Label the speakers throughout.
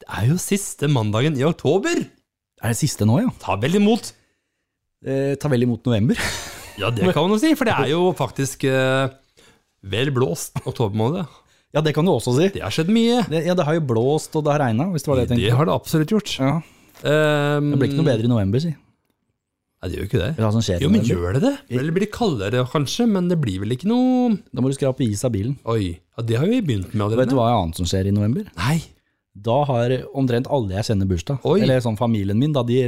Speaker 1: Det er jo siste mandagen i oktober!
Speaker 2: Er det siste nå, ja?
Speaker 1: Ta vel imot!
Speaker 2: Eh, ta vel imot november.
Speaker 1: Ja, det kan man jo si, for det er jo faktisk eh, vel blåst oktober måned.
Speaker 2: ja, det kan du også si.
Speaker 1: Det har skjedd mye.
Speaker 2: Det, ja, det har jo blåst, og det har regna, hvis det var det jeg
Speaker 1: Det
Speaker 2: tenkte.
Speaker 1: har det absolutt gjort.
Speaker 2: Ja.
Speaker 1: Um,
Speaker 2: Det blir ikke noe bedre i november, si.
Speaker 1: Nei, det gjør jo ikke det.
Speaker 2: Eller hva som skjer i
Speaker 1: Jo, men
Speaker 2: november.
Speaker 1: gjør det det? Vel, det blir kaldere kanskje, men det blir vel ikke noe
Speaker 2: Da må du skrape is av bilen.
Speaker 1: Oi, ja, det har vi begynt med allerede.
Speaker 2: Vet du hva annet som skjer i november?
Speaker 1: Nei,
Speaker 2: Da har omtrent alle jeg kjenner bursdag.
Speaker 1: Oi.
Speaker 2: Eller sånn familien min, da. De,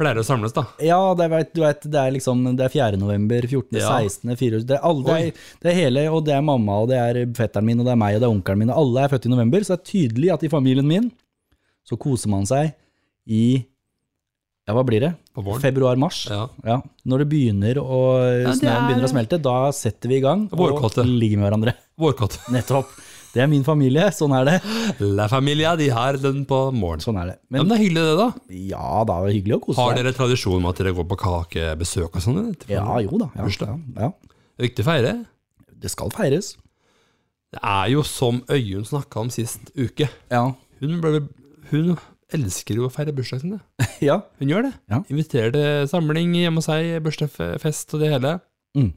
Speaker 1: pleier å samles da.
Speaker 2: ja, det, er- vet, du vet, det er liksom det er 4. november, 14.,
Speaker 1: Ja.
Speaker 2: 16., 24. Det er, alle, det,
Speaker 1: Oi.
Speaker 2: er, det er hele, og det er mamma, og det er fetteren min, og det er meg, og det er onkelen min. og Alle er født i november, så det er tydelig at i familien min så koser man seg i Ja, hva blir det?
Speaker 1: På våren.
Speaker 2: Februar-mars.
Speaker 1: Ja.
Speaker 2: Ja, når det begynner å,
Speaker 1: det
Speaker 2: snøen
Speaker 1: er-
Speaker 2: begynner å smelte, da setter vi i gang og
Speaker 1: Vårkåte.
Speaker 2: ligger med hverandre.
Speaker 1: Vårkott.
Speaker 2: Nettopp. Det er min familie, sånn er det.
Speaker 1: La familia, de har den på morgenen.
Speaker 2: Sånn er det.
Speaker 1: Ja,
Speaker 2: Men
Speaker 1: men det er hyggelig det da.
Speaker 2: ja, da er det hyggelig å kose
Speaker 1: Har
Speaker 2: seg.
Speaker 1: dere tradisjon med at dere går på kakebesøk og sånn? eller? Til
Speaker 2: Ja, jo da. Ja, ja,
Speaker 1: Bursdag.
Speaker 2: ja.
Speaker 1: Viktig å feire.
Speaker 2: Det skal feires.
Speaker 1: Det er jo som Øyunn snakka om sist uke.
Speaker 2: Ja.
Speaker 1: Hun, ble, hun elsker jo å feire bursdagen sin. det.
Speaker 2: ja.
Speaker 1: Hun gjør det.
Speaker 2: Ja.
Speaker 1: Inviterer til samling hjemme hos seg, bursdagsfest og det hele.
Speaker 2: Mm.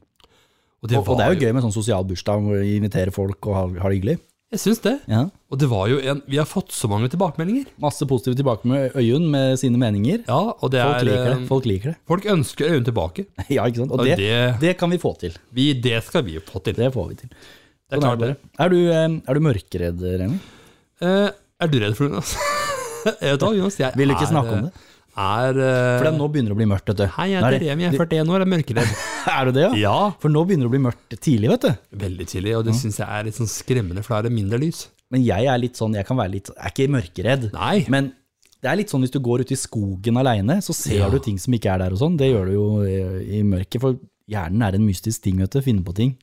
Speaker 1: Og det,
Speaker 2: Og, og det er jo
Speaker 1: gøy.
Speaker 2: gøy med sånn sosial bursdag hvor vi inviterer folk og har, har det hyggelig.
Speaker 1: Jeg syns det.
Speaker 2: Ja.
Speaker 1: Og det var jo en Vi har fått så mange tilbakemeldinger.
Speaker 2: Masse positive tilbake med Øyunn med sine meninger.
Speaker 1: Ja, og det
Speaker 2: Folk
Speaker 1: er
Speaker 2: liker det.
Speaker 1: eh,
Speaker 2: Folk liker det.
Speaker 1: folk ønsker Øyunn tilbake.
Speaker 2: Ja, ikke sant? Og
Speaker 1: Og
Speaker 2: det,
Speaker 1: det-
Speaker 2: det kan vi få til.
Speaker 1: Vi, det skal vi jo få til.
Speaker 2: Det får vi til.
Speaker 1: Det er
Speaker 2: Sånn
Speaker 1: klart,
Speaker 2: bare. Er du, eh, er du mørkeredd, Remi?
Speaker 1: Eh, er du redd for Jonas? jeg vet hva, Jonas. Jeg
Speaker 2: Vil du ikke
Speaker 1: er,
Speaker 2: snakke om det?
Speaker 1: Er eh,
Speaker 2: For det er nå begynner det å bli mørkt, vet du.
Speaker 1: Hei, jeg
Speaker 2: Nå er
Speaker 1: heter
Speaker 2: det-
Speaker 1: Remi, jeg er 41 år, jeg er mørkeredd.
Speaker 2: Er du det, ja?
Speaker 1: Ja,
Speaker 2: For nå begynner det å bli mørkt tidlig, vet du.
Speaker 1: veldig tidlig, og det syns jeg er litt sånn skremmende, for da er det mindre lys.
Speaker 2: Men jeg er litt sånn, jeg kan være litt, jeg er ikke mørkeredd.
Speaker 1: Nei,
Speaker 2: Men det er litt sånn hvis du går ut i skogen alene, så ser
Speaker 1: Ja.
Speaker 2: du ting som ikke er der og sånn. Det gjør du jo eh, i mørket, for hjernen er en mystisk ting, vet du. Finner på ting.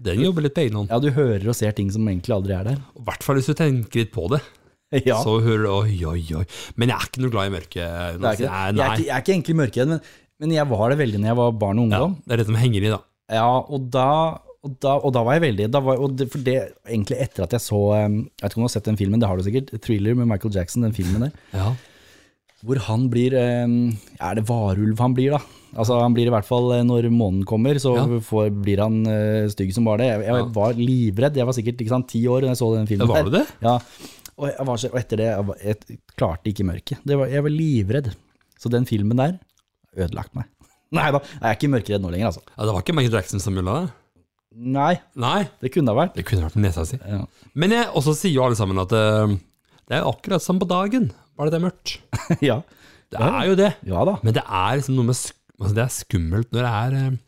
Speaker 1: den jobber litt på egen hånd.
Speaker 2: Ja, du hører og ser ting som egentlig aldri er der.
Speaker 1: I hvert fall hvis du tenker litt på det.
Speaker 2: Ja,
Speaker 1: Så hører du oi, oi, oi. Men jeg er ikke noe glad i mørke.
Speaker 2: det er ikke det.
Speaker 1: Nei,
Speaker 2: Jeg, er
Speaker 1: nei.
Speaker 2: ikke, jeg er ikke egentlig mørkeredd, men, men jeg var det veldig når jeg var barn og
Speaker 1: Ja,
Speaker 2: ungdom.
Speaker 1: det er det som henger i, da.
Speaker 2: Ja, og da... Og da, og da var jeg veldig, da var, og det, for det egentlig etter at jeg så, eh, jeg vet ikke om du har sett den filmen, det har du sikkert, Thriller med Michael Jackson, den filmen der.
Speaker 1: Ja.
Speaker 2: Hvor han blir eh, Er det varulv han blir, da? Altså Han blir i hvert fall eh, Når månen kommer, så
Speaker 1: Ja.
Speaker 2: får, blir han eh, stygg som bare det. Jeg, jeg
Speaker 1: Ja.
Speaker 2: var livredd. Jeg var sikkert ikke sant, ti år da jeg så den filmen.
Speaker 1: Var
Speaker 2: der.
Speaker 1: du det?
Speaker 2: Ja. Og, jeg var, så- og etter det jeg, var- jeg klarte ikke mørket. Det var, jeg var livredd. Så den filmen der ødelagt meg. Nei da, jeg er ikke mørkeredd nå lenger, altså.
Speaker 1: Ja, det var ikke Michael Jackson som gjorde det?
Speaker 2: Nei,
Speaker 1: Nei,
Speaker 2: det kunne det ha vært.
Speaker 1: det kunne vært med nesa si.
Speaker 2: Ja.
Speaker 1: Men jeg også sier jo alle sammen at eh, det er jo akkurat som på dagen, bare det er mørkt.
Speaker 2: ja.
Speaker 1: Det er jo det.
Speaker 2: ja da.
Speaker 1: Men det er liksom noe med sk altså Det er skummelt når det er eh,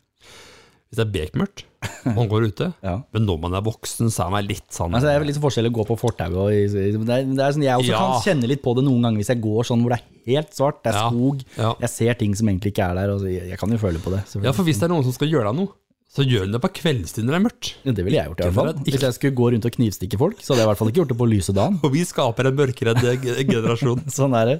Speaker 1: Hvis det er bekmørkt, og man går ute.
Speaker 2: Ja.
Speaker 1: Men når man er voksen, så er man litt sånn
Speaker 2: Altså, det er vel litt forskjell å gå på fortauet. og i- i- Det er, det er sånn, jeg også
Speaker 1: Ja.
Speaker 2: kan kjenne litt på det noen ganger hvis jeg går sånn hvor det er helt svart, det er
Speaker 1: Ja.
Speaker 2: skog,
Speaker 1: Ja.
Speaker 2: jeg ser ting som egentlig ikke er der. Og så, jeg, jeg kan jo føle på det.
Speaker 1: Ja,
Speaker 2: selvfølgelig.
Speaker 1: for hvis det er noen som skal gjøre deg noe, så gjør den det på kveldstid når det er mørkt.
Speaker 2: det ville jeg gjort, i hvert
Speaker 1: for
Speaker 2: fall.
Speaker 1: at-
Speaker 2: Hvis jeg skulle gå rundt og knivstikke folk, så hadde jeg i hvert fall ikke gjort det på lyse dagen.
Speaker 1: Og vi skaper en mørkeredd ge- generasjon.
Speaker 2: Sånn er det.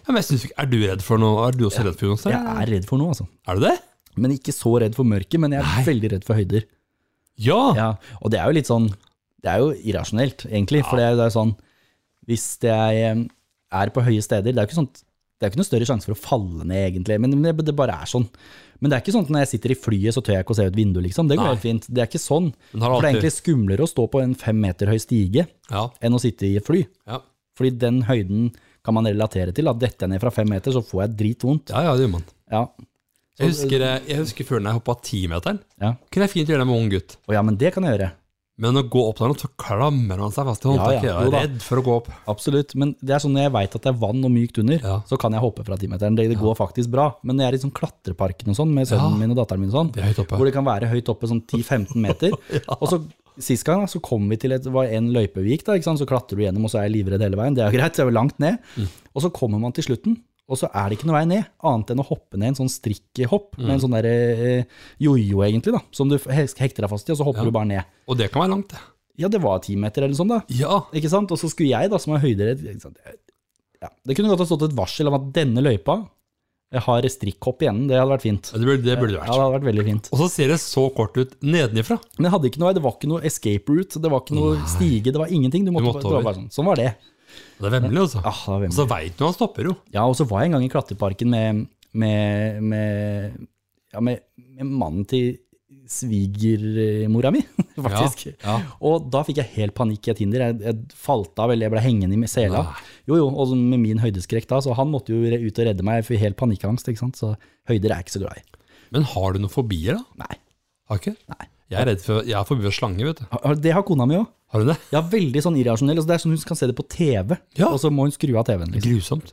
Speaker 1: Ja, men jeg synes, ikke- er du redd for noe? Er du også redd for noe?
Speaker 2: Jeg er redd for noe, altså.
Speaker 1: Er du det?
Speaker 2: Men ikke så redd for mørket, men jeg er veldig redd for høyder.
Speaker 1: Ja!
Speaker 2: Ja, og det er jo litt sånn Det er jo irrasjonelt, egentlig. For det er- det er sånn Hvis jeg eh, er på høye steder Det er jo ikke sånt det er jo ikke noe større sjanse for å falle ned, egentlig, men men det, det bare er sånn. Men det er ikke sånn at når jeg sitter i flyet, så tør jeg ikke å se ut vinduet, liksom. Det går
Speaker 1: Nei.
Speaker 2: helt fint. Det er ikke sånn.
Speaker 1: Men har
Speaker 2: For det er
Speaker 1: alltid-
Speaker 2: egentlig skumlere å stå på en fem meter høy stige
Speaker 1: Ja.
Speaker 2: enn å sitte i et fly.
Speaker 1: ja.
Speaker 2: Fordi den høyden kan man relatere til. At detter jeg ned fra fem meter, så får jeg dritvondt.
Speaker 1: Ja, ja, det gjør man.
Speaker 2: Ja.
Speaker 1: Jeg husker, eh, jeg husker før når jeg hoppa timeteren.
Speaker 2: Ja.
Speaker 1: Kunne jeg fint gjøre det med ung gutt.
Speaker 2: Å ja, men det kan jeg gjøre.
Speaker 1: Men å gå opp der nå, så klamrer han seg fast i
Speaker 2: Ja, ja,
Speaker 1: håndtaket. Jeg
Speaker 2: jo
Speaker 1: er
Speaker 2: da.
Speaker 1: redd for å gå opp.
Speaker 2: Absolutt, men det er sånn når jeg veit at det er vann og mykt under,
Speaker 1: Ja.
Speaker 2: så kan jeg hoppe fra timeteren. Det, det går faktisk bra. Men når jeg er i sånn klatreparken og sånn med sønnen
Speaker 1: Ja.
Speaker 2: min og datteren min, og sånn,
Speaker 1: Det er høyt oppe.
Speaker 2: hvor det kan være høyt oppe, sånn 10-15 meter Og så Sist gang da, så kom vi til et, var en løype vi gikk, da, ikke sant? så klatrer du gjennom, og så er jeg livredd hele veien. Det er jo greit, så jeg er jo langt ned.
Speaker 1: Mm.
Speaker 2: Og så kommer man til slutten, og så er det ikke noe vei ned, annet enn å hoppe ned en sånn strikkhopp med
Speaker 1: Mm.
Speaker 2: en sånn der, eh, jojo, egentlig, da, som du he- hekter deg fast i, og så hopper du bare ned.
Speaker 1: Og det kan være langt, det.
Speaker 2: Ja, det var ti meter eller sånn, da.
Speaker 1: Ja.
Speaker 2: Ikke sant? Og så skulle jeg, da, som er høyderedd ikke sant? ja, Det kunne godt ha stått et varsel om at denne løypa har strikkhopp i enden. Det hadde vært fint.
Speaker 1: Ja, Det burde det, burde det
Speaker 2: Ja,
Speaker 1: vært.
Speaker 2: det hadde vært veldig fint.
Speaker 1: Og så ser det så kort ut nedenifra.
Speaker 2: Men jeg hadde ikke noe, det var ikke noe escape route, det var ikke noe stige, det var ingenting. Du måtte,
Speaker 1: måtte
Speaker 2: det
Speaker 1: over.
Speaker 2: var bare sånn. sånn var det.
Speaker 1: Det er vemmelig, altså.
Speaker 2: Ah, det var
Speaker 1: Og
Speaker 2: vemmelig.
Speaker 1: så veit du han stopper jo.
Speaker 2: Ja, og så var jeg en gang i klatreparken med, med, med, ja, med, med mannen til svigermora mi, faktisk.
Speaker 1: Ja, ja.
Speaker 2: Og da fikk jeg helt panikk i et hinder. Jeg, jeg falt av, eller jeg ble hengende i sela.
Speaker 1: Nei.
Speaker 2: Jo, jo, og så med min høydeskrekk da, så han måtte jo re- ut og redde meg, for helt panikkangst, ikke sant? Så høyder er jeg ikke så glad i.
Speaker 1: Men har du noen fobier, da?
Speaker 2: Nei.
Speaker 1: Har ikke?
Speaker 2: Nei.
Speaker 1: Jeg er redd for Jeg er forbi for slange, vet du.
Speaker 2: Har- har- Det har kona mi òg.
Speaker 1: Har du det?
Speaker 2: Ja, veldig sånn irrasjonell. Altså, det er sånn hun kan se det på TV,
Speaker 1: Ja.
Speaker 2: og så må hun skru av TV-en. Liksom.
Speaker 1: Grusomt.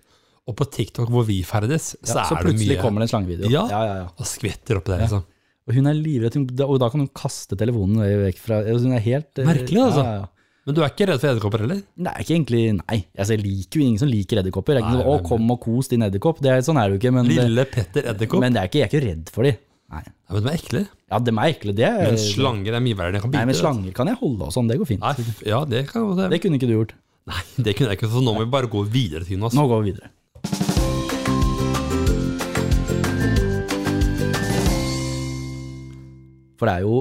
Speaker 1: Og på TikTok hvor vi ferdes, så,
Speaker 2: Ja, så
Speaker 1: er det
Speaker 2: plutselig
Speaker 1: mye
Speaker 2: kommer det en slangevideo.
Speaker 1: Ja.
Speaker 2: Ja, ja, ja.
Speaker 1: Og skvetter oppi der, liksom.
Speaker 2: Og hun er livredd, hun- da- og da kan hun kaste telefonen vekk fra Hun er helt eh,
Speaker 1: Merkelig, altså.
Speaker 2: Ja, ja, ja.
Speaker 1: Men du er ikke redd for edderkopper heller?
Speaker 2: Nei, ikke egentlig, nei. Altså, jeg liker jo ingen som liker edderkopper. Det er ikke
Speaker 1: Nei,
Speaker 2: sånn, Å,
Speaker 1: men-
Speaker 2: kom og kos din edderkopp. Det er, sånn er det jo ikke. Men, det,
Speaker 1: Lille Petter Edderkopp?
Speaker 2: men det er ikke, jeg er ikke redd for de. Nei.
Speaker 1: Nei, men de er ekle.
Speaker 2: Ja, dem er ekle, det.
Speaker 1: Men slanger er mye verre enn jeg kan bite.
Speaker 2: nei, men
Speaker 1: vet du.
Speaker 2: slanger kan jeg holde og sånn. Det går fint.
Speaker 1: Nei, f- ja, det kan jeg godt
Speaker 2: Det kunne ikke du gjort.
Speaker 1: Nei, det kunne jeg ikke, så nå må vi bare gå videre til noe. altså.
Speaker 2: Nå går vi videre. For det er jo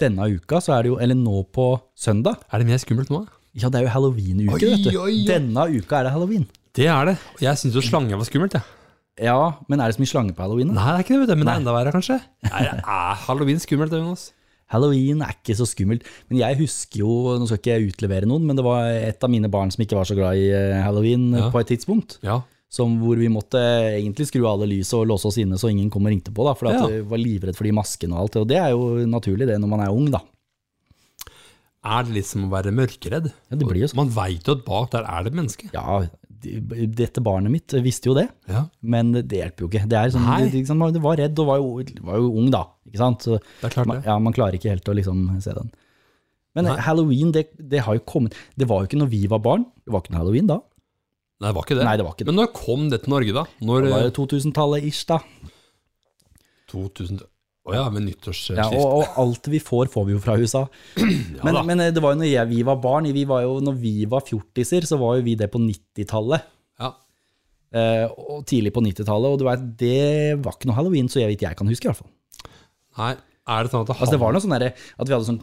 Speaker 2: denne uka, så er det jo Eller nå på søndag.
Speaker 1: Er det mer skummelt nå?
Speaker 2: Ja, det er jo halloween-uke,
Speaker 1: Oi,
Speaker 2: vet du.
Speaker 1: oi, oi.
Speaker 2: Denne uka er det halloween.
Speaker 1: Det er det. Og jeg syns jo slanger var skummelt, jeg.
Speaker 2: Ja, men er det så mye slange på halloween? da?
Speaker 1: Nei, det er ikke det, vet du. Men det er enda verre, kanskje. Nei, er halloween skummelt, det, Jonas?
Speaker 2: Halloween er ikke så skummelt. Men jeg husker jo, nå skal ikke jeg utlevere noen, men det var et av mine barn som ikke var så glad i eh, halloween eh,
Speaker 1: Ja.
Speaker 2: på et tidspunkt.
Speaker 1: Ja.
Speaker 2: Som hvor vi måtte eh, egentlig skru av alle lysene og låse oss inne så ingen kom og ringte på. da, For
Speaker 1: Ja.
Speaker 2: at jeg var livredd for de maskene og alt. Og det er jo naturlig det når man er ung, da.
Speaker 1: Er det litt som å være mørkeredd?
Speaker 2: Ja, det blir jo sånn.
Speaker 1: Man veit jo at bak der er det et menneske.
Speaker 2: Ja, de- dette barnet mitt visste jo det,
Speaker 1: Ja.
Speaker 2: men det hjelper jo ikke. Det er sånn,
Speaker 1: Nei.
Speaker 2: det, det- ikke sant, man det var redd og var jo, var jo ung, da. ikke sant? Så,
Speaker 1: Det er klart
Speaker 2: Man,
Speaker 1: det.
Speaker 2: ja, man klarer ikke helt å liksom se den. Men
Speaker 1: Nei.
Speaker 2: halloween, det, det har jo kommet Det var jo ikke når vi var barn. Det var ikke noe halloween da.
Speaker 1: Nei, det var ikke det.
Speaker 2: Nei, det var ikke det.
Speaker 1: Men når kom det til Norge, da? Når
Speaker 2: Det var
Speaker 1: eh,
Speaker 2: jo 2000-tallet ish, da.
Speaker 1: 2000 Å ja, med nyttårsskift.
Speaker 2: Ja,
Speaker 1: Ja,
Speaker 2: og, og alt vi får, får vi jo fra USA. Men,
Speaker 1: da.
Speaker 2: men eh, det var jo når jeg, vi var barn. Vi var jo, når vi var fjortiser, så var jo vi det på 90-tallet.
Speaker 1: ja.
Speaker 2: Eh, og tidlig på 90-tallet. Og du vet, det var ikke noe halloween, så jeg vet jeg kan huske, i hvert fall.
Speaker 1: Nei, er det sånn at det,
Speaker 2: Altså, det var noe sånn derre at vi hadde sånn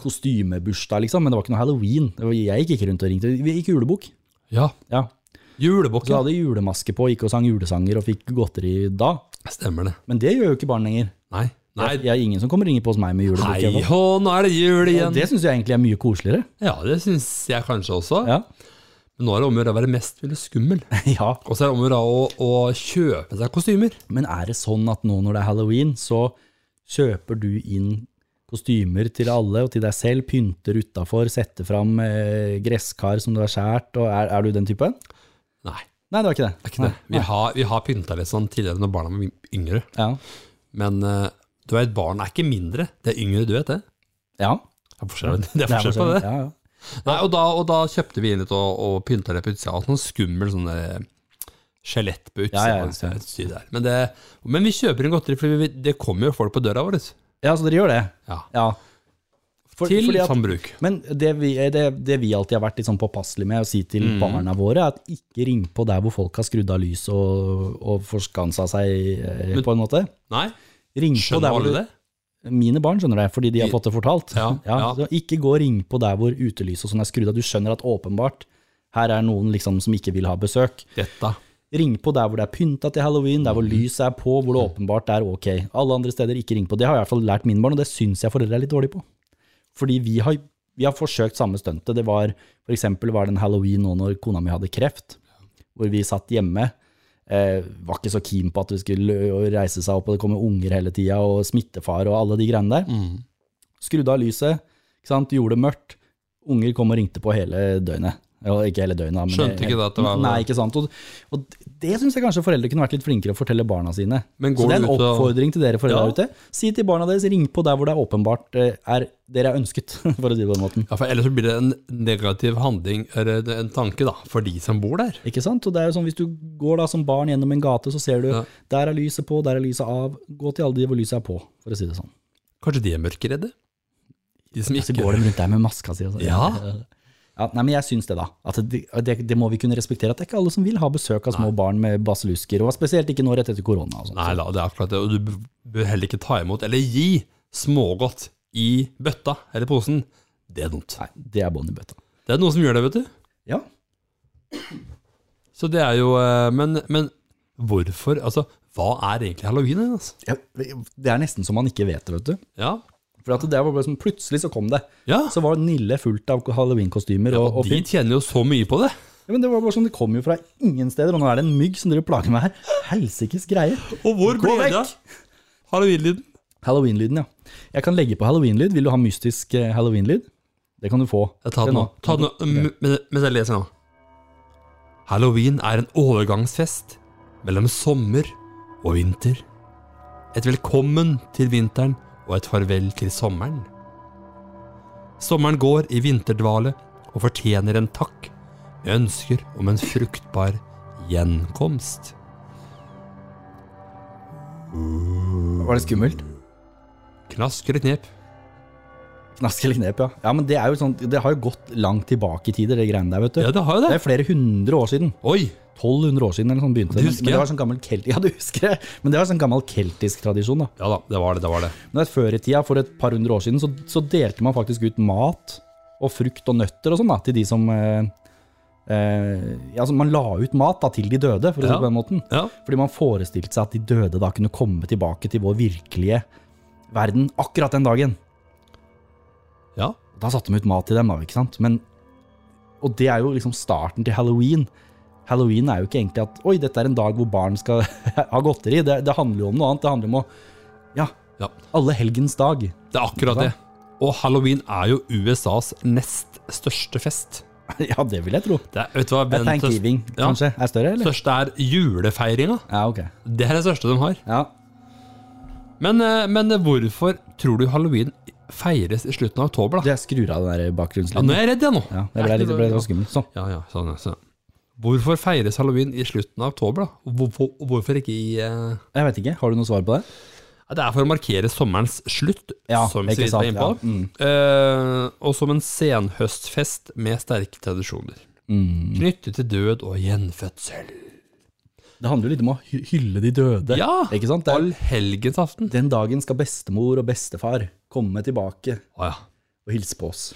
Speaker 2: kostymebursdag, liksom, men det var ikke noe halloween. Det var, jeg gikk ikke rundt og ringte. Vi gikk julebukk.
Speaker 1: Ja.
Speaker 2: Ja, Så
Speaker 1: Julebukken.
Speaker 2: hadde jeg julemaske på, gikk og sang julesanger og fikk godteri da.
Speaker 1: Stemmer det.
Speaker 2: Men det gjør jo ikke barn lenger.
Speaker 1: Nei. Nei,
Speaker 2: Jeg, jeg er ingen som kommer og ringer på hos meg
Speaker 1: Hei,
Speaker 2: med julebukk. i hvert fall.
Speaker 1: hå, nå er det jul
Speaker 2: Og
Speaker 1: igjen.
Speaker 2: Det syns jeg egentlig er mye koseligere.
Speaker 1: Ja, det syns jeg kanskje også.
Speaker 2: Ja.
Speaker 1: Men nå er det om å gjøre å være mest mulig skummel.
Speaker 2: ja.
Speaker 1: Og så er det om å gjøre å, å kjøpe seg kostymer.
Speaker 2: Men er det sånn at nå når det er halloween, så kjøper du inn kostymer til alle og til deg selv, pynter utafor, setter fram eh, gresskar som du har skåret, og er, er du den typen?
Speaker 1: Nei,
Speaker 2: Nei, det var ikke det.
Speaker 1: det er ikke det. Vi har, vi har pynta litt sånn tidligere når barna var yngre.
Speaker 2: Ja.
Speaker 1: Men eh, du vet, barn er ikke mindre. Det er yngre, du vet det.
Speaker 2: ja.
Speaker 1: Det er forskjell, det er forskjell på det.
Speaker 2: Ja, ja.
Speaker 1: Nei, og da, og da kjøpte vi inn litt og, og pynta litt på utsida. Hatt noen skummel sånn der skjelett på utsida.
Speaker 2: Ja, ja, ja.
Speaker 1: altså, et sy der. Men, det, men vi kjøper inn godteri, for vi, det kommer jo folk på døra vår.
Speaker 2: ja, så dere gjør det?
Speaker 1: Ja.
Speaker 2: Ja. For-
Speaker 1: Til sånn
Speaker 2: fordi at-
Speaker 1: sambruk.
Speaker 2: Men det vi, eh, det, det vi alltid har vært litt sånn påpasselige med å si til
Speaker 1: Mm.
Speaker 2: barna våre, er at ikke ring på der hvor folk har skrudd av lys og, og forskansa seg, eh, på en måte.
Speaker 1: Nei,
Speaker 2: Ring på
Speaker 1: skjønner
Speaker 2: der hvor
Speaker 1: alle
Speaker 2: du-
Speaker 1: det?
Speaker 2: Mine barn skjønner det, fordi de har
Speaker 1: De-
Speaker 2: fått det fortalt.
Speaker 1: Ja, ja.
Speaker 2: så ikke gå og ring på der hvor utelys og sånn er skrudd av. Du skjønner at åpenbart her er noen liksom som ikke vil ha besøk.
Speaker 1: Dette.
Speaker 2: Ring på der hvor det er pynta til halloween, der hvor lyset er på, hvor det åpenbart er ok. Alle andre steder, ikke ring på. Det har jeg i hvert fall lært mine barn, og det syns jeg foreldre er litt dårlige på. Fordi vi har, vi har forsøkt samme stuntet. Det var for eksempel var det en halloween nå når kona mi hadde kreft, hvor vi satt hjemme. Eh, var ikke så keen på at vi skulle ø, reise seg opp, og det kommer unger hele tida, og smittefare og alle de greiene der. Skrudde av lyset, ikke sant? gjorde det mørkt. Unger kom og ringte på hele døgnet. Ja, ikke hele døgnet, da, men
Speaker 1: Skjønte ikke det at det var-
Speaker 2: Nei, ikke sant. Og, og det syns jeg kanskje foreldre kunne vært litt flinkere å fortelle barna sine.
Speaker 1: Men
Speaker 2: Så
Speaker 1: går
Speaker 2: det er
Speaker 1: du ut
Speaker 2: en
Speaker 1: og-
Speaker 2: oppfordring til dere foreldre
Speaker 1: Ja.
Speaker 2: der ute. Si til barna deres, ring på der hvor det er åpenbart eh, er, dere er ønsket, for å si det på den måten.
Speaker 1: Ja, for ellers så blir det en negativ handling, eller en tanke, da, for de som bor der.
Speaker 2: Ikke sant? Og det er jo sånn, Hvis du går da som barn gjennom en gate, så ser du
Speaker 1: Ja.
Speaker 2: der er lyset på, der er lyset av. Gå til alle de hvor lyset er på, for å si det sånn.
Speaker 1: Kanskje de er mørkeredde? De som
Speaker 2: Så
Speaker 1: ikke
Speaker 2: går de rundt der med maska si. og så-
Speaker 1: Ja.
Speaker 2: Ja, nei, men jeg syns det, da. At det, det, det må vi kunne respektere. At det er ikke alle som vil ha besøk av små barn med baselusker. Og spesielt ikke nå rett etter korona. og sånn. sånt.
Speaker 1: Nei da, det er akkurat det. Og du bør heller ikke ta imot, eller gi, smågodt i bøtta eller posen. Det er dumt.
Speaker 2: Nei, det er bånn i bøtta.
Speaker 1: Det er noen som gjør det, vet du.
Speaker 2: Ja.
Speaker 1: Så det er jo eh, Men, men hvorfor Altså, hva er egentlig halloween? Altså?
Speaker 2: Ja, det er nesten så man ikke vet det, vet du.
Speaker 1: Ja.
Speaker 2: For at det var bare sånn, plutselig så kom det.
Speaker 1: ja.
Speaker 2: Så var Nille fullt av halloweenkostymer.
Speaker 1: Og,
Speaker 2: Og, og
Speaker 1: de
Speaker 2: pynt.
Speaker 1: tjener jo så mye på det.
Speaker 2: ja, men det var bare sånn, det kom jo fra ingen steder, og nå er det en mygg som driver og plager meg her. Helsikes greier.
Speaker 1: Og hvor
Speaker 2: ble det av
Speaker 1: halloween-lyden?
Speaker 2: Halloween-lyden, ja. Jeg kan legge på halloween-lyd. Vil du ha mystisk eh, halloween-lyd? Det kan du få.
Speaker 1: Ta den nå. Ta den nå m- men- mens jeg leser nå. Halloween er en overgangsfest mellom sommer og vinter. Et velkommen til vinteren og et farvel til sommeren. Sommeren går i vinterdvale og fortjener en takk med ønsker om en fruktbar gjenkomst.
Speaker 2: Var det skummelt?
Speaker 1: Knask eller knep?
Speaker 2: Knask eller knep, ja. Ja, men Det er jo sånn, det har jo gått langt tilbake i tid, det greiene der. vet du.
Speaker 1: Ja, det har jo
Speaker 2: Det
Speaker 1: det.
Speaker 2: er flere hundre år siden.
Speaker 1: Oi!
Speaker 2: 1200 år siden eller sånn begynte det.
Speaker 1: Det
Speaker 2: Men
Speaker 1: husker
Speaker 2: men det
Speaker 1: jeg.
Speaker 2: var sånn gammel kelt, ja, du husker det. Men det var sånn gammel keltisk tradisjon. da.
Speaker 1: Ja da, det var det. det var det.
Speaker 2: Men det er Før i tida, for et par hundre år siden, så, så delte man faktisk ut mat og frukt og nøtter og sånn da, til de som eh, eh, ja, altså Man la ut mat da, til de døde, for å si det
Speaker 1: Ja.
Speaker 2: på den måten.
Speaker 1: Ja.
Speaker 2: Fordi man forestilte seg at de døde da kunne komme tilbake til vår virkelige verden akkurat den dagen.
Speaker 1: ja.
Speaker 2: Da satte de ut mat til dem, da, ikke sant? Men, og det er jo liksom starten til halloween. Halloween er jo ikke egentlig at Oi, dette er en dag hvor barn skal ha godteri. Det, det handler jo om noe annet. Det handler om å Ja,
Speaker 1: Ja.
Speaker 2: alle helgens dag.
Speaker 1: Det er akkurat det. Og halloween er jo USAs nest største fest.
Speaker 2: ja, det vil jeg tro.
Speaker 1: Det er, vet du hva,
Speaker 2: Det er
Speaker 1: den
Speaker 2: Thanksgiving
Speaker 1: Ja.
Speaker 2: kanskje er større, eller?
Speaker 1: største er julefeiringa.
Speaker 2: Ja, ok.
Speaker 1: Det er det største de har.
Speaker 2: Ja.
Speaker 1: Men, eh, men hvorfor tror du halloween feires i slutten av oktober, da?
Speaker 2: Jeg skrur av den der
Speaker 1: Ja, nå
Speaker 2: bakgrunnslyden.
Speaker 1: er jeg redd, jeg nå.
Speaker 2: Ja, det ble litt, ble litt skummelt. Sånn.
Speaker 1: Ja, ja, sånn, ja, sånn. Hvorfor feires halloween i slutten av oktober, da? Og Hvorfor, og hvorfor ikke i eh,
Speaker 2: Jeg vet ikke, har du noe svar på det?
Speaker 1: Ja, Det er for å markere sommerens slutt,
Speaker 2: Ja,
Speaker 1: som
Speaker 2: ikke
Speaker 1: Siv var
Speaker 2: sant,
Speaker 1: inne på.
Speaker 2: ja. Mm.
Speaker 1: Eh, og som en senhøstfest med sterke tradisjoner. Knyttet til død og gjenfødsel.
Speaker 2: Mm. Det handler jo litt om å hy- hylle de døde.
Speaker 1: Ja,
Speaker 2: Ikke sant? Det er,
Speaker 1: Allhelgensaften.
Speaker 2: den dagen skal bestemor og bestefar komme tilbake
Speaker 1: Å, ja.
Speaker 2: og hilse på oss.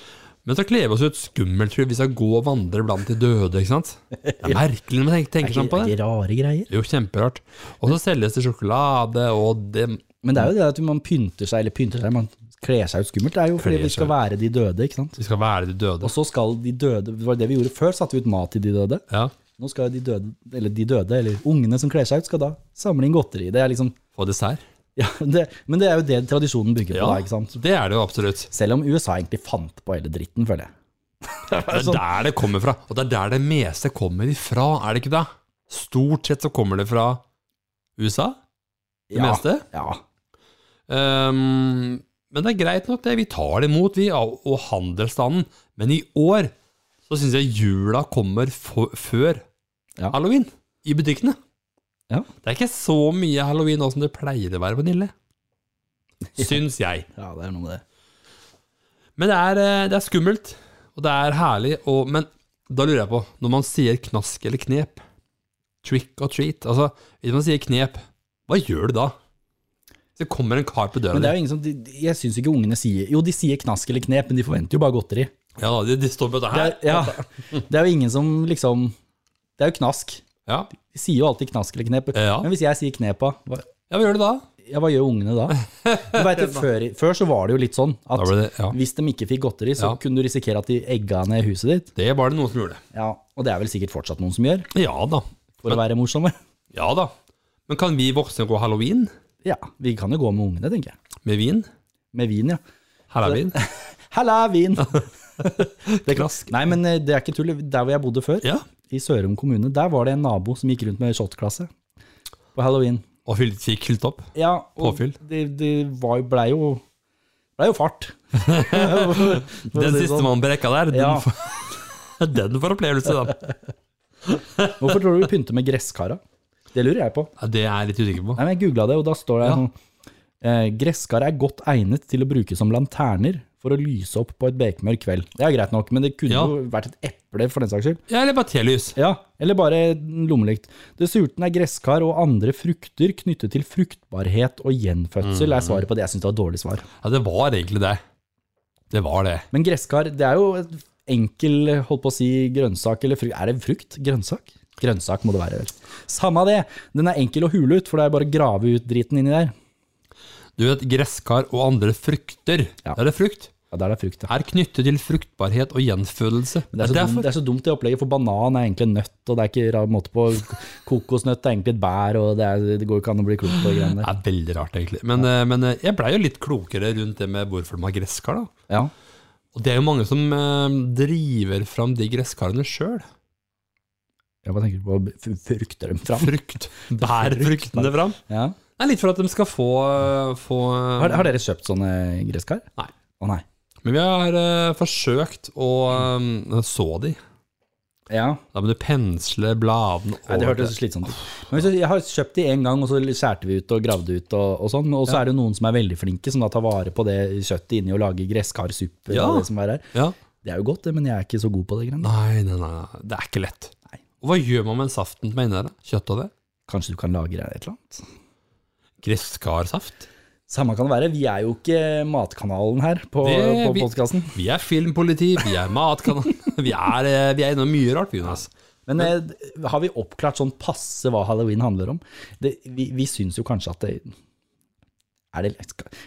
Speaker 1: Men så kler vi oss ut skummelt, tror jeg. Vi skal gå og vandre blant de døde, ikke sant? Det er merkelig når man tenker, tenker sånn på det.
Speaker 2: ikke rare greier.
Speaker 1: Jo, kjemperart. Og så selges det sjokolade, og det
Speaker 2: Men det er jo det at man pynter seg, eller pynter seg, man kler seg ut skummelt. Det er jo fordi
Speaker 1: Kler
Speaker 2: vi skal
Speaker 1: seg.
Speaker 2: være de døde, ikke sant?
Speaker 1: Vi skal være de døde.
Speaker 2: Og så skal de døde, det var det vi gjorde før, satte vi ut mat til de døde.
Speaker 1: Ja.
Speaker 2: Nå skal de døde, eller de døde, eller ungene som kler seg ut, skal da samle inn godteri. Det er liksom,
Speaker 1: Få dessert.
Speaker 2: ja, det, men det er jo det tradisjonen bygger
Speaker 1: Ja.
Speaker 2: på da, ikke sant?
Speaker 1: Det er det jo absolutt.
Speaker 2: Selv om USA egentlig fant på hele dritten, føler jeg.
Speaker 1: Det
Speaker 2: Altså-
Speaker 1: er der det kommer fra. Og det er der det meste kommer ifra, er det ikke det? Stort sett så kommer det fra USA, det
Speaker 2: Ja.
Speaker 1: meste.
Speaker 2: Ja,
Speaker 1: Ehm, men det er greit nok, det. Vi tar det imot, vi, og og handelsstanden. Men i år så syns jeg jula kommer fo- før
Speaker 2: Ja.
Speaker 1: halloween i butikkene.
Speaker 2: Ja.
Speaker 1: Det er ikke så mye halloween nå som det pleier å være på Nille. Syns jeg.
Speaker 2: ja, det er noe med det.
Speaker 1: Men det er, eh, det er skummelt, og det er herlig. Og, men da lurer jeg på, når man sier knask eller knep, trick or treat Altså, hvis man sier knep, hva gjør du da? Hvis det kommer en kar på døra
Speaker 2: Men det
Speaker 1: di
Speaker 2: er jo ingen som, de, de- jeg synes ikke ungene sier, jo de sier knask eller knep, men de forventer jo bare godteri.
Speaker 1: Ja da, de, de står på dette
Speaker 2: Det
Speaker 1: her.
Speaker 2: er, ja, det er jo ingen som liksom, det er jo knask.
Speaker 1: Ja.
Speaker 2: De sier jo alltid knask eller knep.
Speaker 1: Ja.
Speaker 2: Men hvis jeg sier knepa, hva,
Speaker 1: ja, hva gjør du da?
Speaker 2: ja, hva gjør ungene da? Du vet, jo, før, før så var det jo litt sånn at
Speaker 1: Da ble det, ja.
Speaker 2: hvis de ikke fikk godteri, så
Speaker 1: Ja.
Speaker 2: kunne du risikere at de egga ned huset ditt.
Speaker 1: det var det noen som gjorde.
Speaker 2: Ja, og det er vel sikkert fortsatt noen som gjør,
Speaker 1: Ja da.
Speaker 2: for å være morsomme.
Speaker 1: Ja da. Men kan vi voksne gå halloween
Speaker 2: Ja, vi kan jo gå med ungene, tenker jeg.
Speaker 1: med vin?
Speaker 2: Med vin, ja.
Speaker 1: Halloween?
Speaker 2: Halla, vin! det,
Speaker 1: Knask.
Speaker 2: nei, men eh, det er ikke tull. Der hvor jeg bodde før,
Speaker 1: Ja.
Speaker 2: i Sørum kommune, der var det en nabo som gikk rundt med shotklasse på halloween.
Speaker 1: Og fylt, fikk fylt opp?
Speaker 2: Ja, og
Speaker 1: Påfyll.
Speaker 2: det, det var, ble jo ble jo fart.
Speaker 1: Den
Speaker 2: Den
Speaker 1: siste mannen på rekka der, den,
Speaker 2: sånn. Ja.
Speaker 1: får- den får opplevelse, da.
Speaker 2: Hvorfor tror du vi pynter med gresskara? Det lurer jeg på.
Speaker 1: Ja, det er jeg litt usikker på.
Speaker 2: Nei, men Jeg googla det, og da står det
Speaker 1: Ja.
Speaker 2: sånn eh, Gresskar er godt egnet til å bruke som lanterner for å lyse opp på et bekmørk kveld. Det er greit nok, men det kunne
Speaker 1: Ja.
Speaker 2: jo vært et eple for den saks skyld.
Speaker 1: Ja, eller bare telys.
Speaker 2: Ja, Eller bare en lommelykt. Dessuten er gresskar og andre frukter knyttet til fruktbarhet og gjenfødsel,
Speaker 1: Mm.
Speaker 2: er svaret på det. Jeg syns det var et dårlig svar.
Speaker 1: Ja, det var egentlig det. Det var det.
Speaker 2: Men gresskar, det er jo et enkel, holdt på å si, grønnsak eller frukt. Er det frukt? Grønnsak? Grønnsak må det være. vel. Samme det, den er enkel å hule ut, for det er bare å grave ut driten inni der.
Speaker 1: Du vet, gresskar og andre frukter.
Speaker 2: Ja.
Speaker 1: Der er det frukt.
Speaker 2: Ja, Der er frukt, ja.
Speaker 1: Er knyttet til fruktbarhet og gjenfødelse.
Speaker 2: Men Det er, så
Speaker 1: Derfor-
Speaker 2: dumt, det er så dumt det opplegget, for banan er egentlig en nøtt, og det er ikke rar måte på kokosnøtt er egentlig et bær, og det, er, det går ikke an å bli klok på de greiene
Speaker 1: Det
Speaker 2: der.
Speaker 1: er veldig rart, egentlig. Men, eh, men eh, jeg blei jo litt klokere rundt det med hvorfor de har gresskar. da.
Speaker 2: Ja.
Speaker 1: Og det er jo mange som eh, driver fram de gresskarene sjøl.
Speaker 2: Ja, Hva tenker du på? F- Frukter dem fram?
Speaker 1: Frukt. Bærer fruktene fram.
Speaker 2: Ja.
Speaker 1: Det er litt for at de skal få, eh, få eh,
Speaker 2: Har, har dere kjøpt sånne gresskar?
Speaker 1: Nei.
Speaker 2: Å nei.
Speaker 1: Men vi har eh, forsøkt å eh, så de.
Speaker 2: Ja,
Speaker 1: Da må du pensle bladene
Speaker 2: Nei, det
Speaker 1: over.
Speaker 2: hørtes slitsomt ut. Men hvis jeg- jeg har kjøpt de én gang, og så skjærte vi ut og gravde ut, og, og sånn, og så er det noen som er veldig flinke, som da tar vare på det kjøttet inni og lager gresskarsuppe.
Speaker 1: Ja.
Speaker 2: og Det, som er her.
Speaker 1: Ja.
Speaker 2: det er jo godt, det, men jeg er ikke så god på det. greiene.
Speaker 1: Nei, nei, nei, nei, det er ikke lett.
Speaker 2: Nei.
Speaker 1: Og hva gjør man med saften som er inni der? da? Kjøtt og det?
Speaker 2: Kanskje du kan lagre et eller annet?
Speaker 1: Gresskarsaft?
Speaker 2: Samme kan det være, vi er jo ikke matkanalen her på,
Speaker 1: Det-
Speaker 2: på
Speaker 1: vi-
Speaker 2: podkasten.
Speaker 1: Vi er filmpoliti, vi er matkanal, vi er, eh, vi er innom mye rart, vi, Jonas.
Speaker 2: Men eh, har vi oppklart sånn passe hva halloween handler om? Det, vi vi syns jo kanskje at det er det,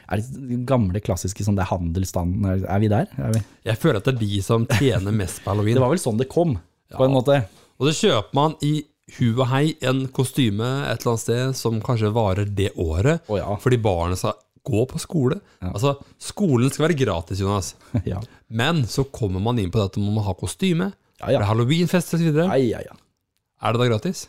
Speaker 2: er det den gamle, klassiske sånn det er handelsstanden? Er, er vi der? Er vi?
Speaker 1: Jeg føler at det er de som tjener mest på
Speaker 2: Det
Speaker 1: halloween.
Speaker 2: var vel sånn det kom, på en måte.
Speaker 1: Og så kjøper man i hu og hei en kostyme et eller annet sted som kanskje varer det året,
Speaker 2: Å ja.
Speaker 1: fordi barna skal gå på skole. Altså, skolen skal være gratis, Jonas.
Speaker 2: ja.
Speaker 1: Men så kommer man inn på det at man må ha kostyme,
Speaker 2: Ja, ja.
Speaker 1: det er halloweenfest og så videre.
Speaker 2: Ai, ai, ai.
Speaker 1: Er det da gratis?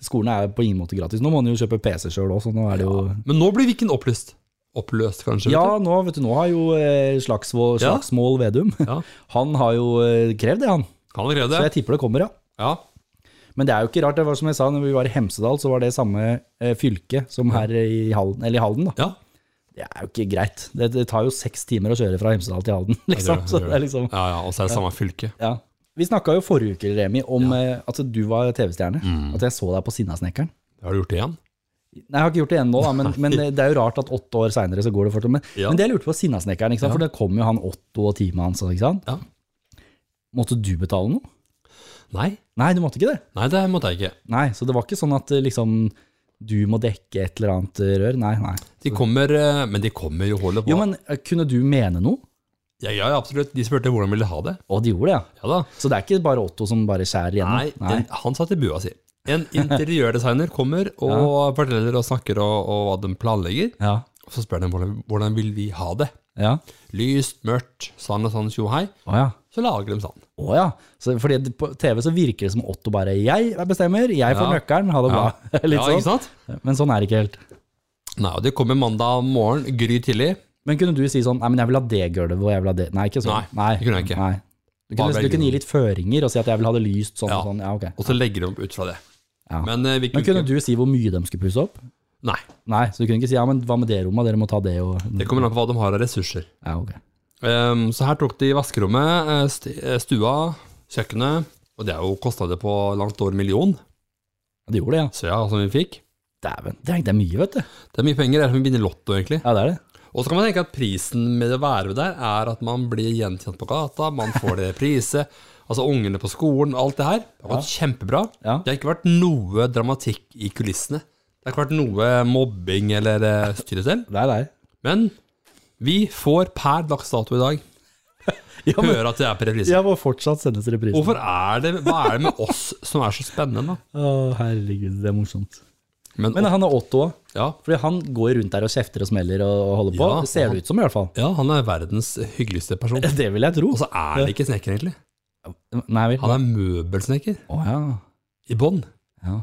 Speaker 2: Skolen er på ingen måte gratis. Nå må man jo kjøpe PC sjøl òg, så nå er det jo
Speaker 1: Men nå blir Viken opplyst. Oppløst, kanskje?
Speaker 2: Ja,
Speaker 1: vet
Speaker 2: nå, vet du, nå har jo eh, Slagsvold,
Speaker 1: Ja.
Speaker 2: Slagsmål Vedum
Speaker 1: Ja.
Speaker 2: Han har jo eh, krevd det, han.
Speaker 1: du? Kan allerede
Speaker 2: Så
Speaker 1: det.
Speaker 2: jeg tipper det kommer, ja.
Speaker 1: Ja.
Speaker 2: Men det er jo ikke rart. Det var som jeg sa, når vi var i Hemsedal, så var det samme eh, fylke som her i Halden. Eller i Halden, da.
Speaker 1: ja.
Speaker 2: Det er jo ikke greit. Det, det tar jo seks timer å kjøre fra Hemsedal til Halden, liksom.
Speaker 1: det
Speaker 2: Så
Speaker 1: gjør
Speaker 2: det er liksom
Speaker 1: Ja, ja, Og så er det samme fylke.
Speaker 2: ja. Vi snakka jo forrige uke, Remi, om eh, at du var TV-stjerne.
Speaker 1: Mm.
Speaker 2: At jeg så deg på Sinnasnekkeren.
Speaker 1: Har du gjort det igjen?
Speaker 2: Nei, jeg har ikke gjort det ennå, da, men, men det er jo rart at åtte år seinere så går det fortsatt. Men,
Speaker 1: Ja.
Speaker 2: men det jeg lurte på, Sinnasnekkeren, ikke sant? for det kom jo han Otto og teamet hans. ikke sant?
Speaker 1: Ja.
Speaker 2: Måtte du betale noe?
Speaker 1: Nei.
Speaker 2: Nei, du måtte ikke det.
Speaker 1: Nei, det måtte jeg ikke.
Speaker 2: Nei, Så det var ikke sånn at eh, liksom du må dekke et eller annet eh, rør? Nei, nei.
Speaker 1: De kommer, eh, men de kommer jo holde på.
Speaker 2: Jo, men eh, kunne du mene noe?
Speaker 1: Ja, ja, absolutt. De spurte hvordan ville de ha det.
Speaker 2: Å, de gjorde det, ja.
Speaker 1: Ja da.
Speaker 2: Så det er ikke bare Otto som bare skjærer igjennom?
Speaker 1: Nei, En, han satt i bua si. En interiørdesigner kommer og forteller og snakker og, og hva de planlegger.
Speaker 2: Ja.
Speaker 1: Og så spør de hvordan, hvordan vil vi ha det.
Speaker 2: Ja.
Speaker 1: Lyst, mørkt, sånn og sånn, tjo hei.
Speaker 2: Å ja.
Speaker 1: Så lager de sånn.
Speaker 2: Å ja. Så, fordi det- på TV så virker det som Otto bare Jeg bestemmer, jeg får
Speaker 1: Ja.
Speaker 2: nøkkelen, ha det bra. Litt
Speaker 1: ja,
Speaker 2: sånn.
Speaker 1: ikke sant?
Speaker 2: Men sånn er det ikke helt.
Speaker 1: Nei, og de kommer mandag morgen, gry tidlig.
Speaker 2: Men kunne du si sånn Nei, men jeg vil ha det gulvet, og jeg vil ha det Nei, ikke sånn.
Speaker 1: Nei, det kunne jeg ikke.
Speaker 2: Nei. Du,
Speaker 1: Bare
Speaker 2: kunne,
Speaker 1: velge
Speaker 2: du kunne
Speaker 1: noe.
Speaker 2: gi litt føringer og si at jeg vil ha det lyst sånn
Speaker 1: Ja.
Speaker 2: og sånn. Ja, ok.
Speaker 1: Og så legger de opp ut fra det.
Speaker 2: Ja.
Speaker 1: Men eh, vi
Speaker 2: Men
Speaker 1: kunne
Speaker 2: kunne du si hvor mye de skulle pusse opp?
Speaker 1: Nei.
Speaker 2: Nei, så du kunne ikke si ja, men hva med det rommet, dere må ta det og
Speaker 1: Det kommer an på hva de har av ressurser.
Speaker 2: Ja, ok.
Speaker 1: Ehm, så her tok de vaskerommet, eh, st- eh, stua, kjøkkenet. Og det er jo kostnader på langt over en million,
Speaker 2: Ja, De gjorde det, ja.
Speaker 1: så ja, som vi fikk.
Speaker 2: Dæven. Det er, det er mye, vet du.
Speaker 1: Det er mye penger, det er som å vinne lotto, egentlig.
Speaker 2: Ja, det er det.
Speaker 1: Og så kan man tenke at prisen med å være med der, er at man blir gjenkjent på gata, man får det priset, altså ungene på skolen, alt det her. Det har gått kjempebra.
Speaker 2: Ja.
Speaker 1: Det har ikke vært noe dramatikk i kulissene. Det har ikke vært noe mobbing eller eh, styre selv.
Speaker 2: Det er det.
Speaker 1: Men vi får per dags dato i dag
Speaker 2: Ja, men,
Speaker 1: høre at det er per reprise.
Speaker 2: ja, må fortsatt sendes reprise.
Speaker 1: Hvorfor er det, hva er det med oss som er så spennende? da?
Speaker 2: Å, herregud, det er morsomt.
Speaker 1: Men,
Speaker 2: Men han er Otto òg.
Speaker 1: ja,
Speaker 2: Fordi han går rundt der og kjefter og smeller og, og holder på.
Speaker 1: Ja,
Speaker 2: det ser det ut som, i hvert fall.
Speaker 1: ja, han er verdens hyggeligste person. Og
Speaker 2: Det vil jeg tro.
Speaker 1: så er det ikke snekker, egentlig.
Speaker 2: Nei vel.
Speaker 1: Han er møbelsnekker
Speaker 2: Å ja.
Speaker 1: i bånn,
Speaker 2: Ja.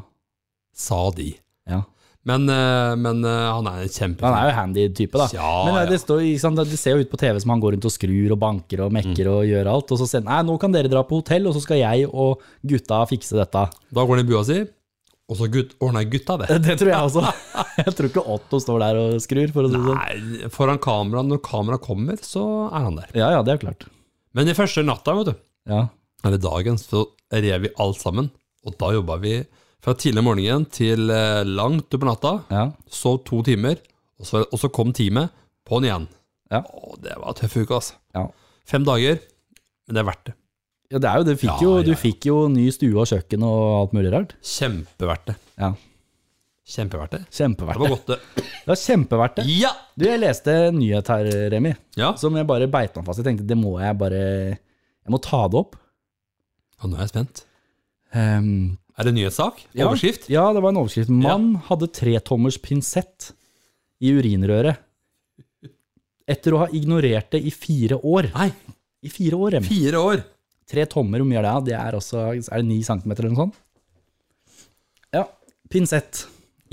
Speaker 1: sa de.
Speaker 2: ja.
Speaker 1: Men, eh, men eh, han er en
Speaker 2: Han
Speaker 1: kjempefin.
Speaker 2: er jo handy type, da.
Speaker 1: Ja,
Speaker 2: Men eh,
Speaker 1: ja.
Speaker 2: det, står, ikke sant, det ser jo ut på TV som han går rundt og skrur og banker og mekker og gjør alt. Og så sier han nei, nå kan dere dra på hotell, og så skal jeg og gutta fikse dette.
Speaker 1: Da går han i bua si, og så gutt, ordner gutta det.
Speaker 2: Det tror jeg også. Jeg tror ikke Otto står der og skrur, for å si det sånn.
Speaker 1: Nei, foran kamera, når kamera kommer, så er han der.
Speaker 2: Ja ja, det er jo klart.
Speaker 1: Men den første natta, vet du,
Speaker 2: Ja.
Speaker 1: eller dagen, så rev vi alt sammen. Og da jobba vi fra tidlig om morgenen til eh, langt utpå natta.
Speaker 2: ja.
Speaker 1: Sov to timer, og så, og så kom teamet på'n igjen.
Speaker 2: Ja.
Speaker 1: Å, det var en tøff uke, altså.
Speaker 2: ja.
Speaker 1: Fem dager, men det er verdt det.
Speaker 2: Ja, det er jo, du fikk,
Speaker 1: Ja,
Speaker 2: jo,
Speaker 1: ja, ja.
Speaker 2: du fikk jo ny stue og kjøkken og alt mulig rart.
Speaker 1: Kjempeverdt det.
Speaker 2: Ja,
Speaker 1: Kjempeverdt det. Det
Speaker 2: Kjempeverdt
Speaker 1: var
Speaker 2: det.
Speaker 1: godt, det.
Speaker 2: Det var kjempeverdt det.
Speaker 1: Ja!
Speaker 2: Du, jeg leste en nyhet her, Remi,
Speaker 1: ja.
Speaker 2: som jeg bare beit meg fast i. Jeg tenkte det må jeg bare Jeg må ta det opp.
Speaker 1: Og nå er jeg spent.
Speaker 2: Ehm,
Speaker 1: Er det en nyhetssak?
Speaker 2: ja.
Speaker 1: Overskrift?
Speaker 2: Ja, det var en overskrift. Mann hadde tretommers pinsett i urinrøret etter å ha ignorert det i fire år.
Speaker 1: Nei,
Speaker 2: I fire år, Remi.
Speaker 1: fire år!
Speaker 2: Tre tommer, hvor mye er det? Det er også, er det ni centimeter eller noe sånt? Ja, pinsett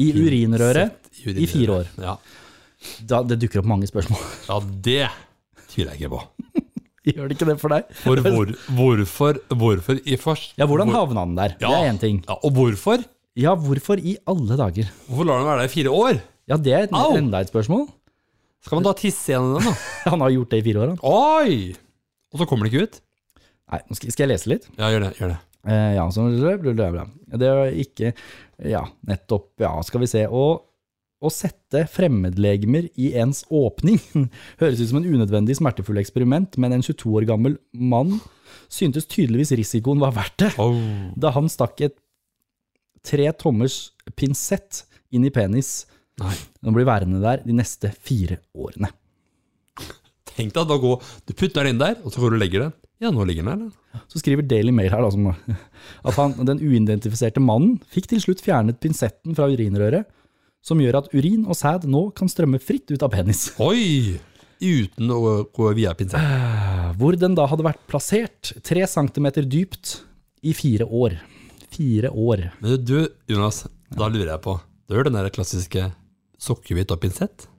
Speaker 2: i urinrøret
Speaker 1: Sett
Speaker 2: i fire år.
Speaker 1: Ja.
Speaker 2: Da, det dukker opp mange spørsmål.
Speaker 1: ja, det tviler jeg ikke på.
Speaker 2: Gjør det ikke det for deg?
Speaker 1: For hvor, hvorfor, hvorfor i først
Speaker 2: Ja, hvordan
Speaker 1: hvor-
Speaker 2: havna den der? Det
Speaker 1: Ja.
Speaker 2: er én ting.
Speaker 1: Ja, og hvorfor?
Speaker 2: Ja, hvorfor i alle dager?
Speaker 1: Hvorfor lar han være der i fire år?
Speaker 2: Ja, det er et,
Speaker 1: Au!
Speaker 2: enda et spørsmål.
Speaker 1: Skal man da tisse gjennom den, da?
Speaker 2: Han har gjort det i fire år, han.
Speaker 1: Oi! Og så kommer det ikke ut?
Speaker 2: Nei, nå skal, skal jeg lese litt?
Speaker 1: Ja, gjør det. gjør det.
Speaker 2: Eh, ja, så blablabla. Det var ikke Ja, nettopp. Ja, skal vi se. Og å sette fremmedlegemer i ens åpning høres ut som en unødvendig smertefull eksperiment, men en 22 år gammel mann syntes tydeligvis risikoen var verdt det da han stakk et tre tommers pinsett inn i penis.
Speaker 1: Nei.
Speaker 2: Den blir værende der de neste fire årene.
Speaker 1: Tenk deg at da går, du putter den inn der, og så går du og legger den. Ja, nå ligger den der. den.
Speaker 2: Så skriver Daily Mail her da, som, at han, den uidentifiserte mannen fikk til slutt fjernet pinsetten fra urinrøret, som gjør at urin og sæd nå kan strømme fritt ut av penis.
Speaker 1: Oi! Uten å gå via pinsett.
Speaker 2: Hvor den da hadde vært plassert tre centimeter dypt i fire år. Fire år.
Speaker 1: Men du, Jonas, da lurer jeg på Du hører den der klassiske sukkerhvit og pinsett?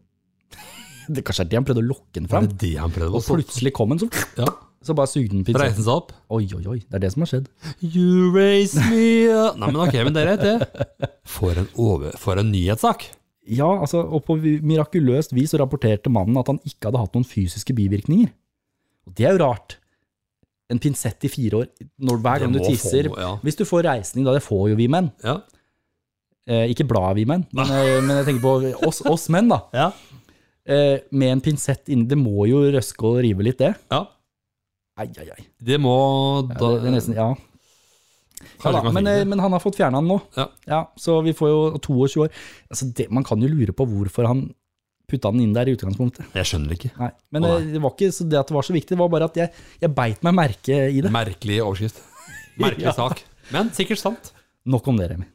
Speaker 2: Det kanskje er det han prøvde å lokke den
Speaker 1: Er
Speaker 2: fram?
Speaker 1: det det han prøvde
Speaker 2: Og
Speaker 1: å
Speaker 2: plutselig kom den, så,
Speaker 1: Ja,
Speaker 2: så bare sugde den pinsetten.
Speaker 1: Reiste den seg opp.
Speaker 2: Oi, oi, oi. Det er det som har skjedd.
Speaker 1: You raise me up Nei, men ok, men det er greit, det. For en, over, for en nyhetssak.
Speaker 2: Ja, altså, og på vi- mirakuløst vis så rapporterte mannen at han ikke hadde hatt noen fysiske bivirkninger. Og det er jo rart. En pinsett i fire år, når, hver gang du
Speaker 1: Det må
Speaker 2: tisser.
Speaker 1: få- ja.
Speaker 2: Hvis du får reisning, da, det får jo vi menn.
Speaker 1: Ja.
Speaker 2: Eh, ikke bladet vi menn, men, eh, men jeg tenker på oss, oss menn, da.
Speaker 1: Ja.
Speaker 2: Eh, med en pinsett inni, det må jo røske og rive litt, det.
Speaker 1: ja.
Speaker 2: Ai, ai, ai.
Speaker 1: Det må
Speaker 2: Ja,
Speaker 1: da
Speaker 2: det, det er nesten, ja.
Speaker 1: Kanskje
Speaker 2: Ja, da,
Speaker 1: man
Speaker 2: men,
Speaker 1: finner
Speaker 2: eh, men han har fått fjerna den nå.
Speaker 1: Ja.
Speaker 2: Så vi får jo 22 år. Altså, det, man kan jo lure på hvorfor han putta den inn der i utgangspunktet.
Speaker 1: det. Jeg skjønner ikke.
Speaker 2: Nei, men
Speaker 1: Å,
Speaker 2: eh, det var ikke så det at det var så viktig, det var bare at jeg, jeg beit meg merke i det.
Speaker 1: Merkelig overskrift. Merkelig
Speaker 2: Ja.
Speaker 1: sak. Men sikkert sant.
Speaker 2: Nok om det, Remi.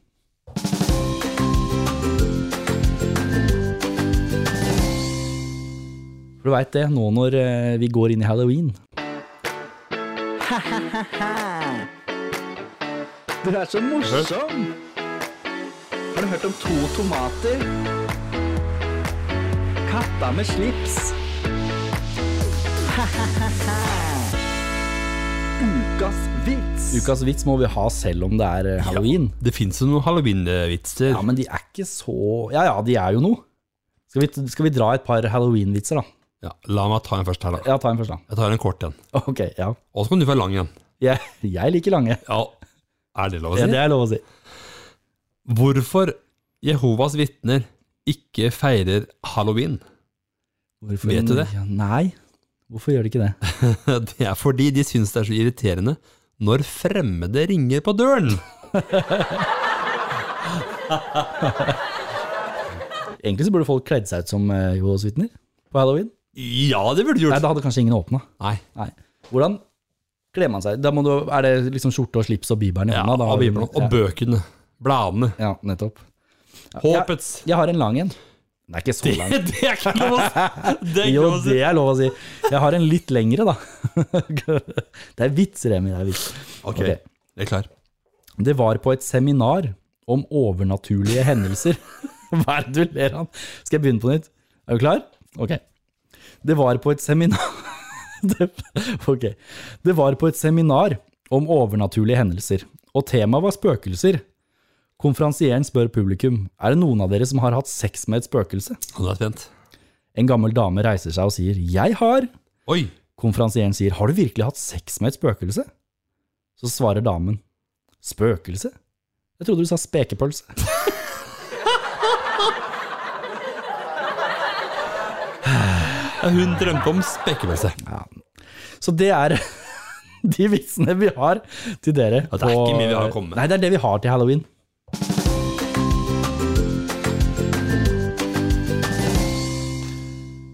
Speaker 2: For du veit det, nå når eh, vi går inn i halloween Du er så morsom! Har du hørt om to tomater? Katta med slips. Ukas vits. Ukas vits må vi ha selv om det er eh, halloween.
Speaker 1: Det fins jo noen halloween-vitser.
Speaker 2: Ja, men de er ikke så Ja ja, de er jo noe. Skal vi, skal vi dra et par halloween-vitser, da?
Speaker 1: Ja, la meg ta en først her, da.
Speaker 2: Ja, ta en først, da.
Speaker 1: Jeg tar en kort en.
Speaker 2: Ok, ja.
Speaker 1: Og så kan du få en lang en.
Speaker 2: Jeg, jeg liker lange.
Speaker 1: Ja, er det lov å
Speaker 2: Ja,
Speaker 1: si?
Speaker 2: det er lov å si.
Speaker 1: Hvorfor Jehovas vitner ikke feirer halloween?
Speaker 2: Hvorfor,
Speaker 1: Vet du det?
Speaker 2: Ja, nei. Hvorfor gjør de ikke det?
Speaker 1: Det er fordi de syns det er så irriterende når fremmede ringer på døren.
Speaker 2: Egentlig så burde folk kledd seg ut som eh, Jehovas vitner på halloween.
Speaker 1: Ja, det burde du
Speaker 2: Nei,
Speaker 1: gjort.
Speaker 2: da hadde kanskje ingen åpna.
Speaker 1: Nei.
Speaker 2: Nei. Hvordan kler man seg? Da må du, er det liksom skjorte og slips og bibelen i
Speaker 1: Ja,
Speaker 2: hånda? da har
Speaker 1: og
Speaker 2: du-
Speaker 1: Bibelen. Og bøkene. Bladene.
Speaker 2: Ja, ja, nettopp.
Speaker 1: Håpets.
Speaker 2: Jeg har en lang en. Den er ikke så lang.
Speaker 1: Det er ikke lov å si! Det er ikke
Speaker 2: Jo,
Speaker 1: lov å si.
Speaker 2: det er lov å si. Jeg har en litt lengre, da. Det er vits, Remi. Det er vits.
Speaker 1: Ok,
Speaker 2: Ok.
Speaker 1: jeg er klar.
Speaker 2: Det var på et seminar om overnaturlige hendelser. Hva er det du ler av? Skal jeg begynne på nytt? Er du klar? Ok. Det var på et seminar det, Ok. Det var på et seminar om overnaturlige hendelser, og temaet var spøkelser. Konferansieren spør publikum er det noen av dere som har hatt sex med et spøkelse.
Speaker 1: Nå er jeg spent.
Speaker 2: En gammel dame reiser seg og sier 'jeg har'.
Speaker 1: Oi!
Speaker 2: Konferansieren sier 'har du virkelig hatt sex med et spøkelse?' Så svarer damen 'spøkelse'? Jeg trodde du sa spekepølse.
Speaker 1: Hun drømte om spekepølse.
Speaker 2: Så det er de vitsene vi har til dere.
Speaker 1: Ja, det er
Speaker 2: på-
Speaker 1: ikke mye vi har å komme med.
Speaker 2: Nei, det er det vi har til halloween.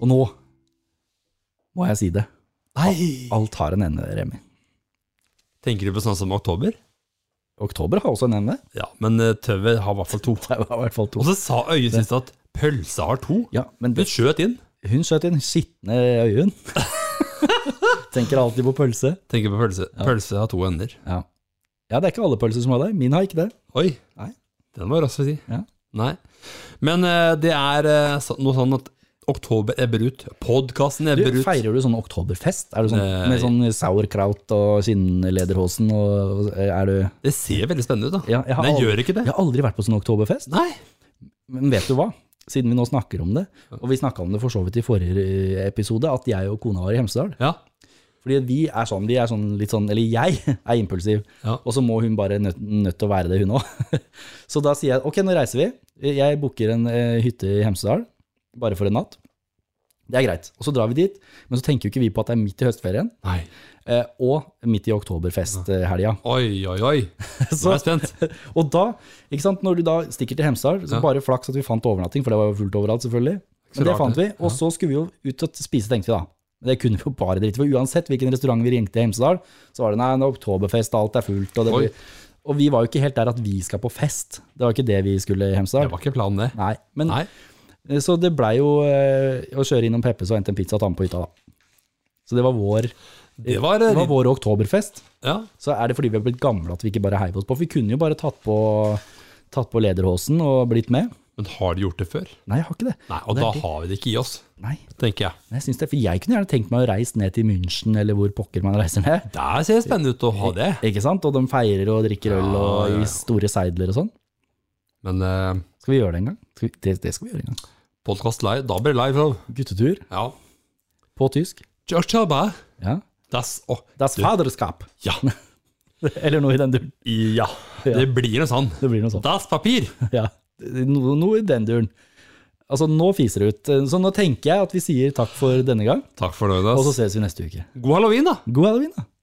Speaker 2: Og nå må jeg si det.
Speaker 1: Nei!
Speaker 2: Alt har en ende, Remi.
Speaker 1: Tenker du på sånn som oktober?
Speaker 2: Oktober har også en ende.
Speaker 1: Ja, men eh, tøvet har i hvert fall to.
Speaker 2: Det var i hvert fall to.
Speaker 1: Og så sa Øye sist at pølsa har to.
Speaker 2: Ja, men
Speaker 1: Hun
Speaker 2: det,
Speaker 1: skjøt inn.
Speaker 2: hun skjøt inn sittende øyen. Tenker alltid på pølse.
Speaker 1: Tenker på pølse. Pølse har to ender.
Speaker 2: Ja. ja, det er ikke alle pølser som har det. Min har ikke det.
Speaker 1: Oi.
Speaker 2: Nei.
Speaker 1: Den var rask å si.
Speaker 2: Ja.
Speaker 1: Nei. Men eh, det er eh, så- noe sånn at oktober ebber ut. Podkasten
Speaker 2: Du,
Speaker 1: ebber ut.
Speaker 2: feirer du sånn oktoberfest? Er du sånn,
Speaker 1: Nei.
Speaker 2: med sånn sauerkraut og skinnlederhosen? Og, er du,
Speaker 1: Det ser veldig spennende ut, da.
Speaker 2: Ja, jeg har
Speaker 1: Men jeg
Speaker 2: aldri-
Speaker 1: gjør ikke det.
Speaker 2: jeg har aldri vært på sånn oktoberfest.
Speaker 1: Nei.
Speaker 2: Men vet du hva? Siden vi nå snakker om det, og vi snakka om det for så vidt i forrige eh, episode, at jeg og kona var i Hemsedal.
Speaker 1: Ja.
Speaker 2: Fordi vi er sånn, vi er sånn litt sånn, eller jeg er impulsiv,
Speaker 1: Ja.
Speaker 2: og så må hun bare nødt nødt til å være det hun også. Så da sier jeg, ok, nå reiser vi. Jeg booker en eh, hytte i Hemsedal, bare for en natt. Det er greit. Og så drar vi dit, men så tenker jo ikke vi på at det er midt i høstferien,
Speaker 1: Nei.
Speaker 2: eh, og midt i oktoberfesthelga.
Speaker 1: Oi, oi, oi. Nå er jeg spent.
Speaker 2: Og da, ikke sant, når du da stikker til Hemsedal, så
Speaker 1: Ja.
Speaker 2: bare flaks at vi fant overnatting, for det var jo fullt overalt selvfølgelig.
Speaker 1: så
Speaker 2: Men det
Speaker 1: rart,
Speaker 2: fant vi,
Speaker 1: det.
Speaker 2: og så skulle vi jo ut og spise, tenkte vi da. Men det kunne vi jo bare dritt for. Uansett hvilken restaurant vi ringte i Hemsedal, så var det nei, det er oktoberfest, alt er fullt. Og, det
Speaker 1: Oi.
Speaker 2: blir- og vi var jo ikke helt der at vi skal på fest. Det var ikke det vi skulle i
Speaker 1: Det
Speaker 2: Hemsedal.
Speaker 1: var ikke planen, det.
Speaker 2: Nei, men
Speaker 1: Nei.
Speaker 2: så det blei jo eh, å kjøre innom Peppes og hente en pizza og ta med på hytta, da. Så det var vår,
Speaker 1: Det var,
Speaker 2: det
Speaker 1: eh,
Speaker 2: var vår oktoberfest.
Speaker 1: Ja.
Speaker 2: Så er det fordi vi har blitt gamle at vi ikke bare heiv oss på. For vi kunne jo bare tatt på, tatt på lederhosen og blitt med.
Speaker 1: Men har de gjort det før?
Speaker 2: Nei, jeg har ikke det.
Speaker 1: Nei, og
Speaker 2: Det er
Speaker 1: da
Speaker 2: det.
Speaker 1: har vi det ikke i oss,
Speaker 2: Nei,
Speaker 1: tenker jeg.
Speaker 2: jeg synes det, For jeg kunne gjerne tenkt meg å reise ned til München, eller hvor pokker man reiser ned.
Speaker 1: Der ser det spennende ut å ha det.
Speaker 2: Ikke sant? Og de feirer og drikker øl
Speaker 1: Ja,
Speaker 2: og
Speaker 1: ja, ja.
Speaker 2: i store seidler og sånn.
Speaker 1: Men eh,
Speaker 2: Skal vi gjøre det en gang? Skal vi, det, det skal vi gjøre en gang.
Speaker 1: podcast live, da blir det live. da.
Speaker 2: Guttetur
Speaker 1: Ja.
Speaker 2: på tysk.
Speaker 1: Just a bar.
Speaker 2: Ja.
Speaker 1: Das, å,
Speaker 2: Das Faderskap.
Speaker 1: ja.
Speaker 2: Eller noe i den duren.
Speaker 1: Ja, det blir noe sånn.
Speaker 2: Det blir noe sånt.
Speaker 1: Das papir.
Speaker 2: Ja. Noe, noe i den duren. Altså, nå fiser det ut. Så nå tenker jeg at vi sier takk for denne gang,
Speaker 1: Takk for nå,
Speaker 2: og så
Speaker 1: Jonas.
Speaker 2: ses vi neste uke.
Speaker 1: God halloween, da.
Speaker 2: God halloween, da.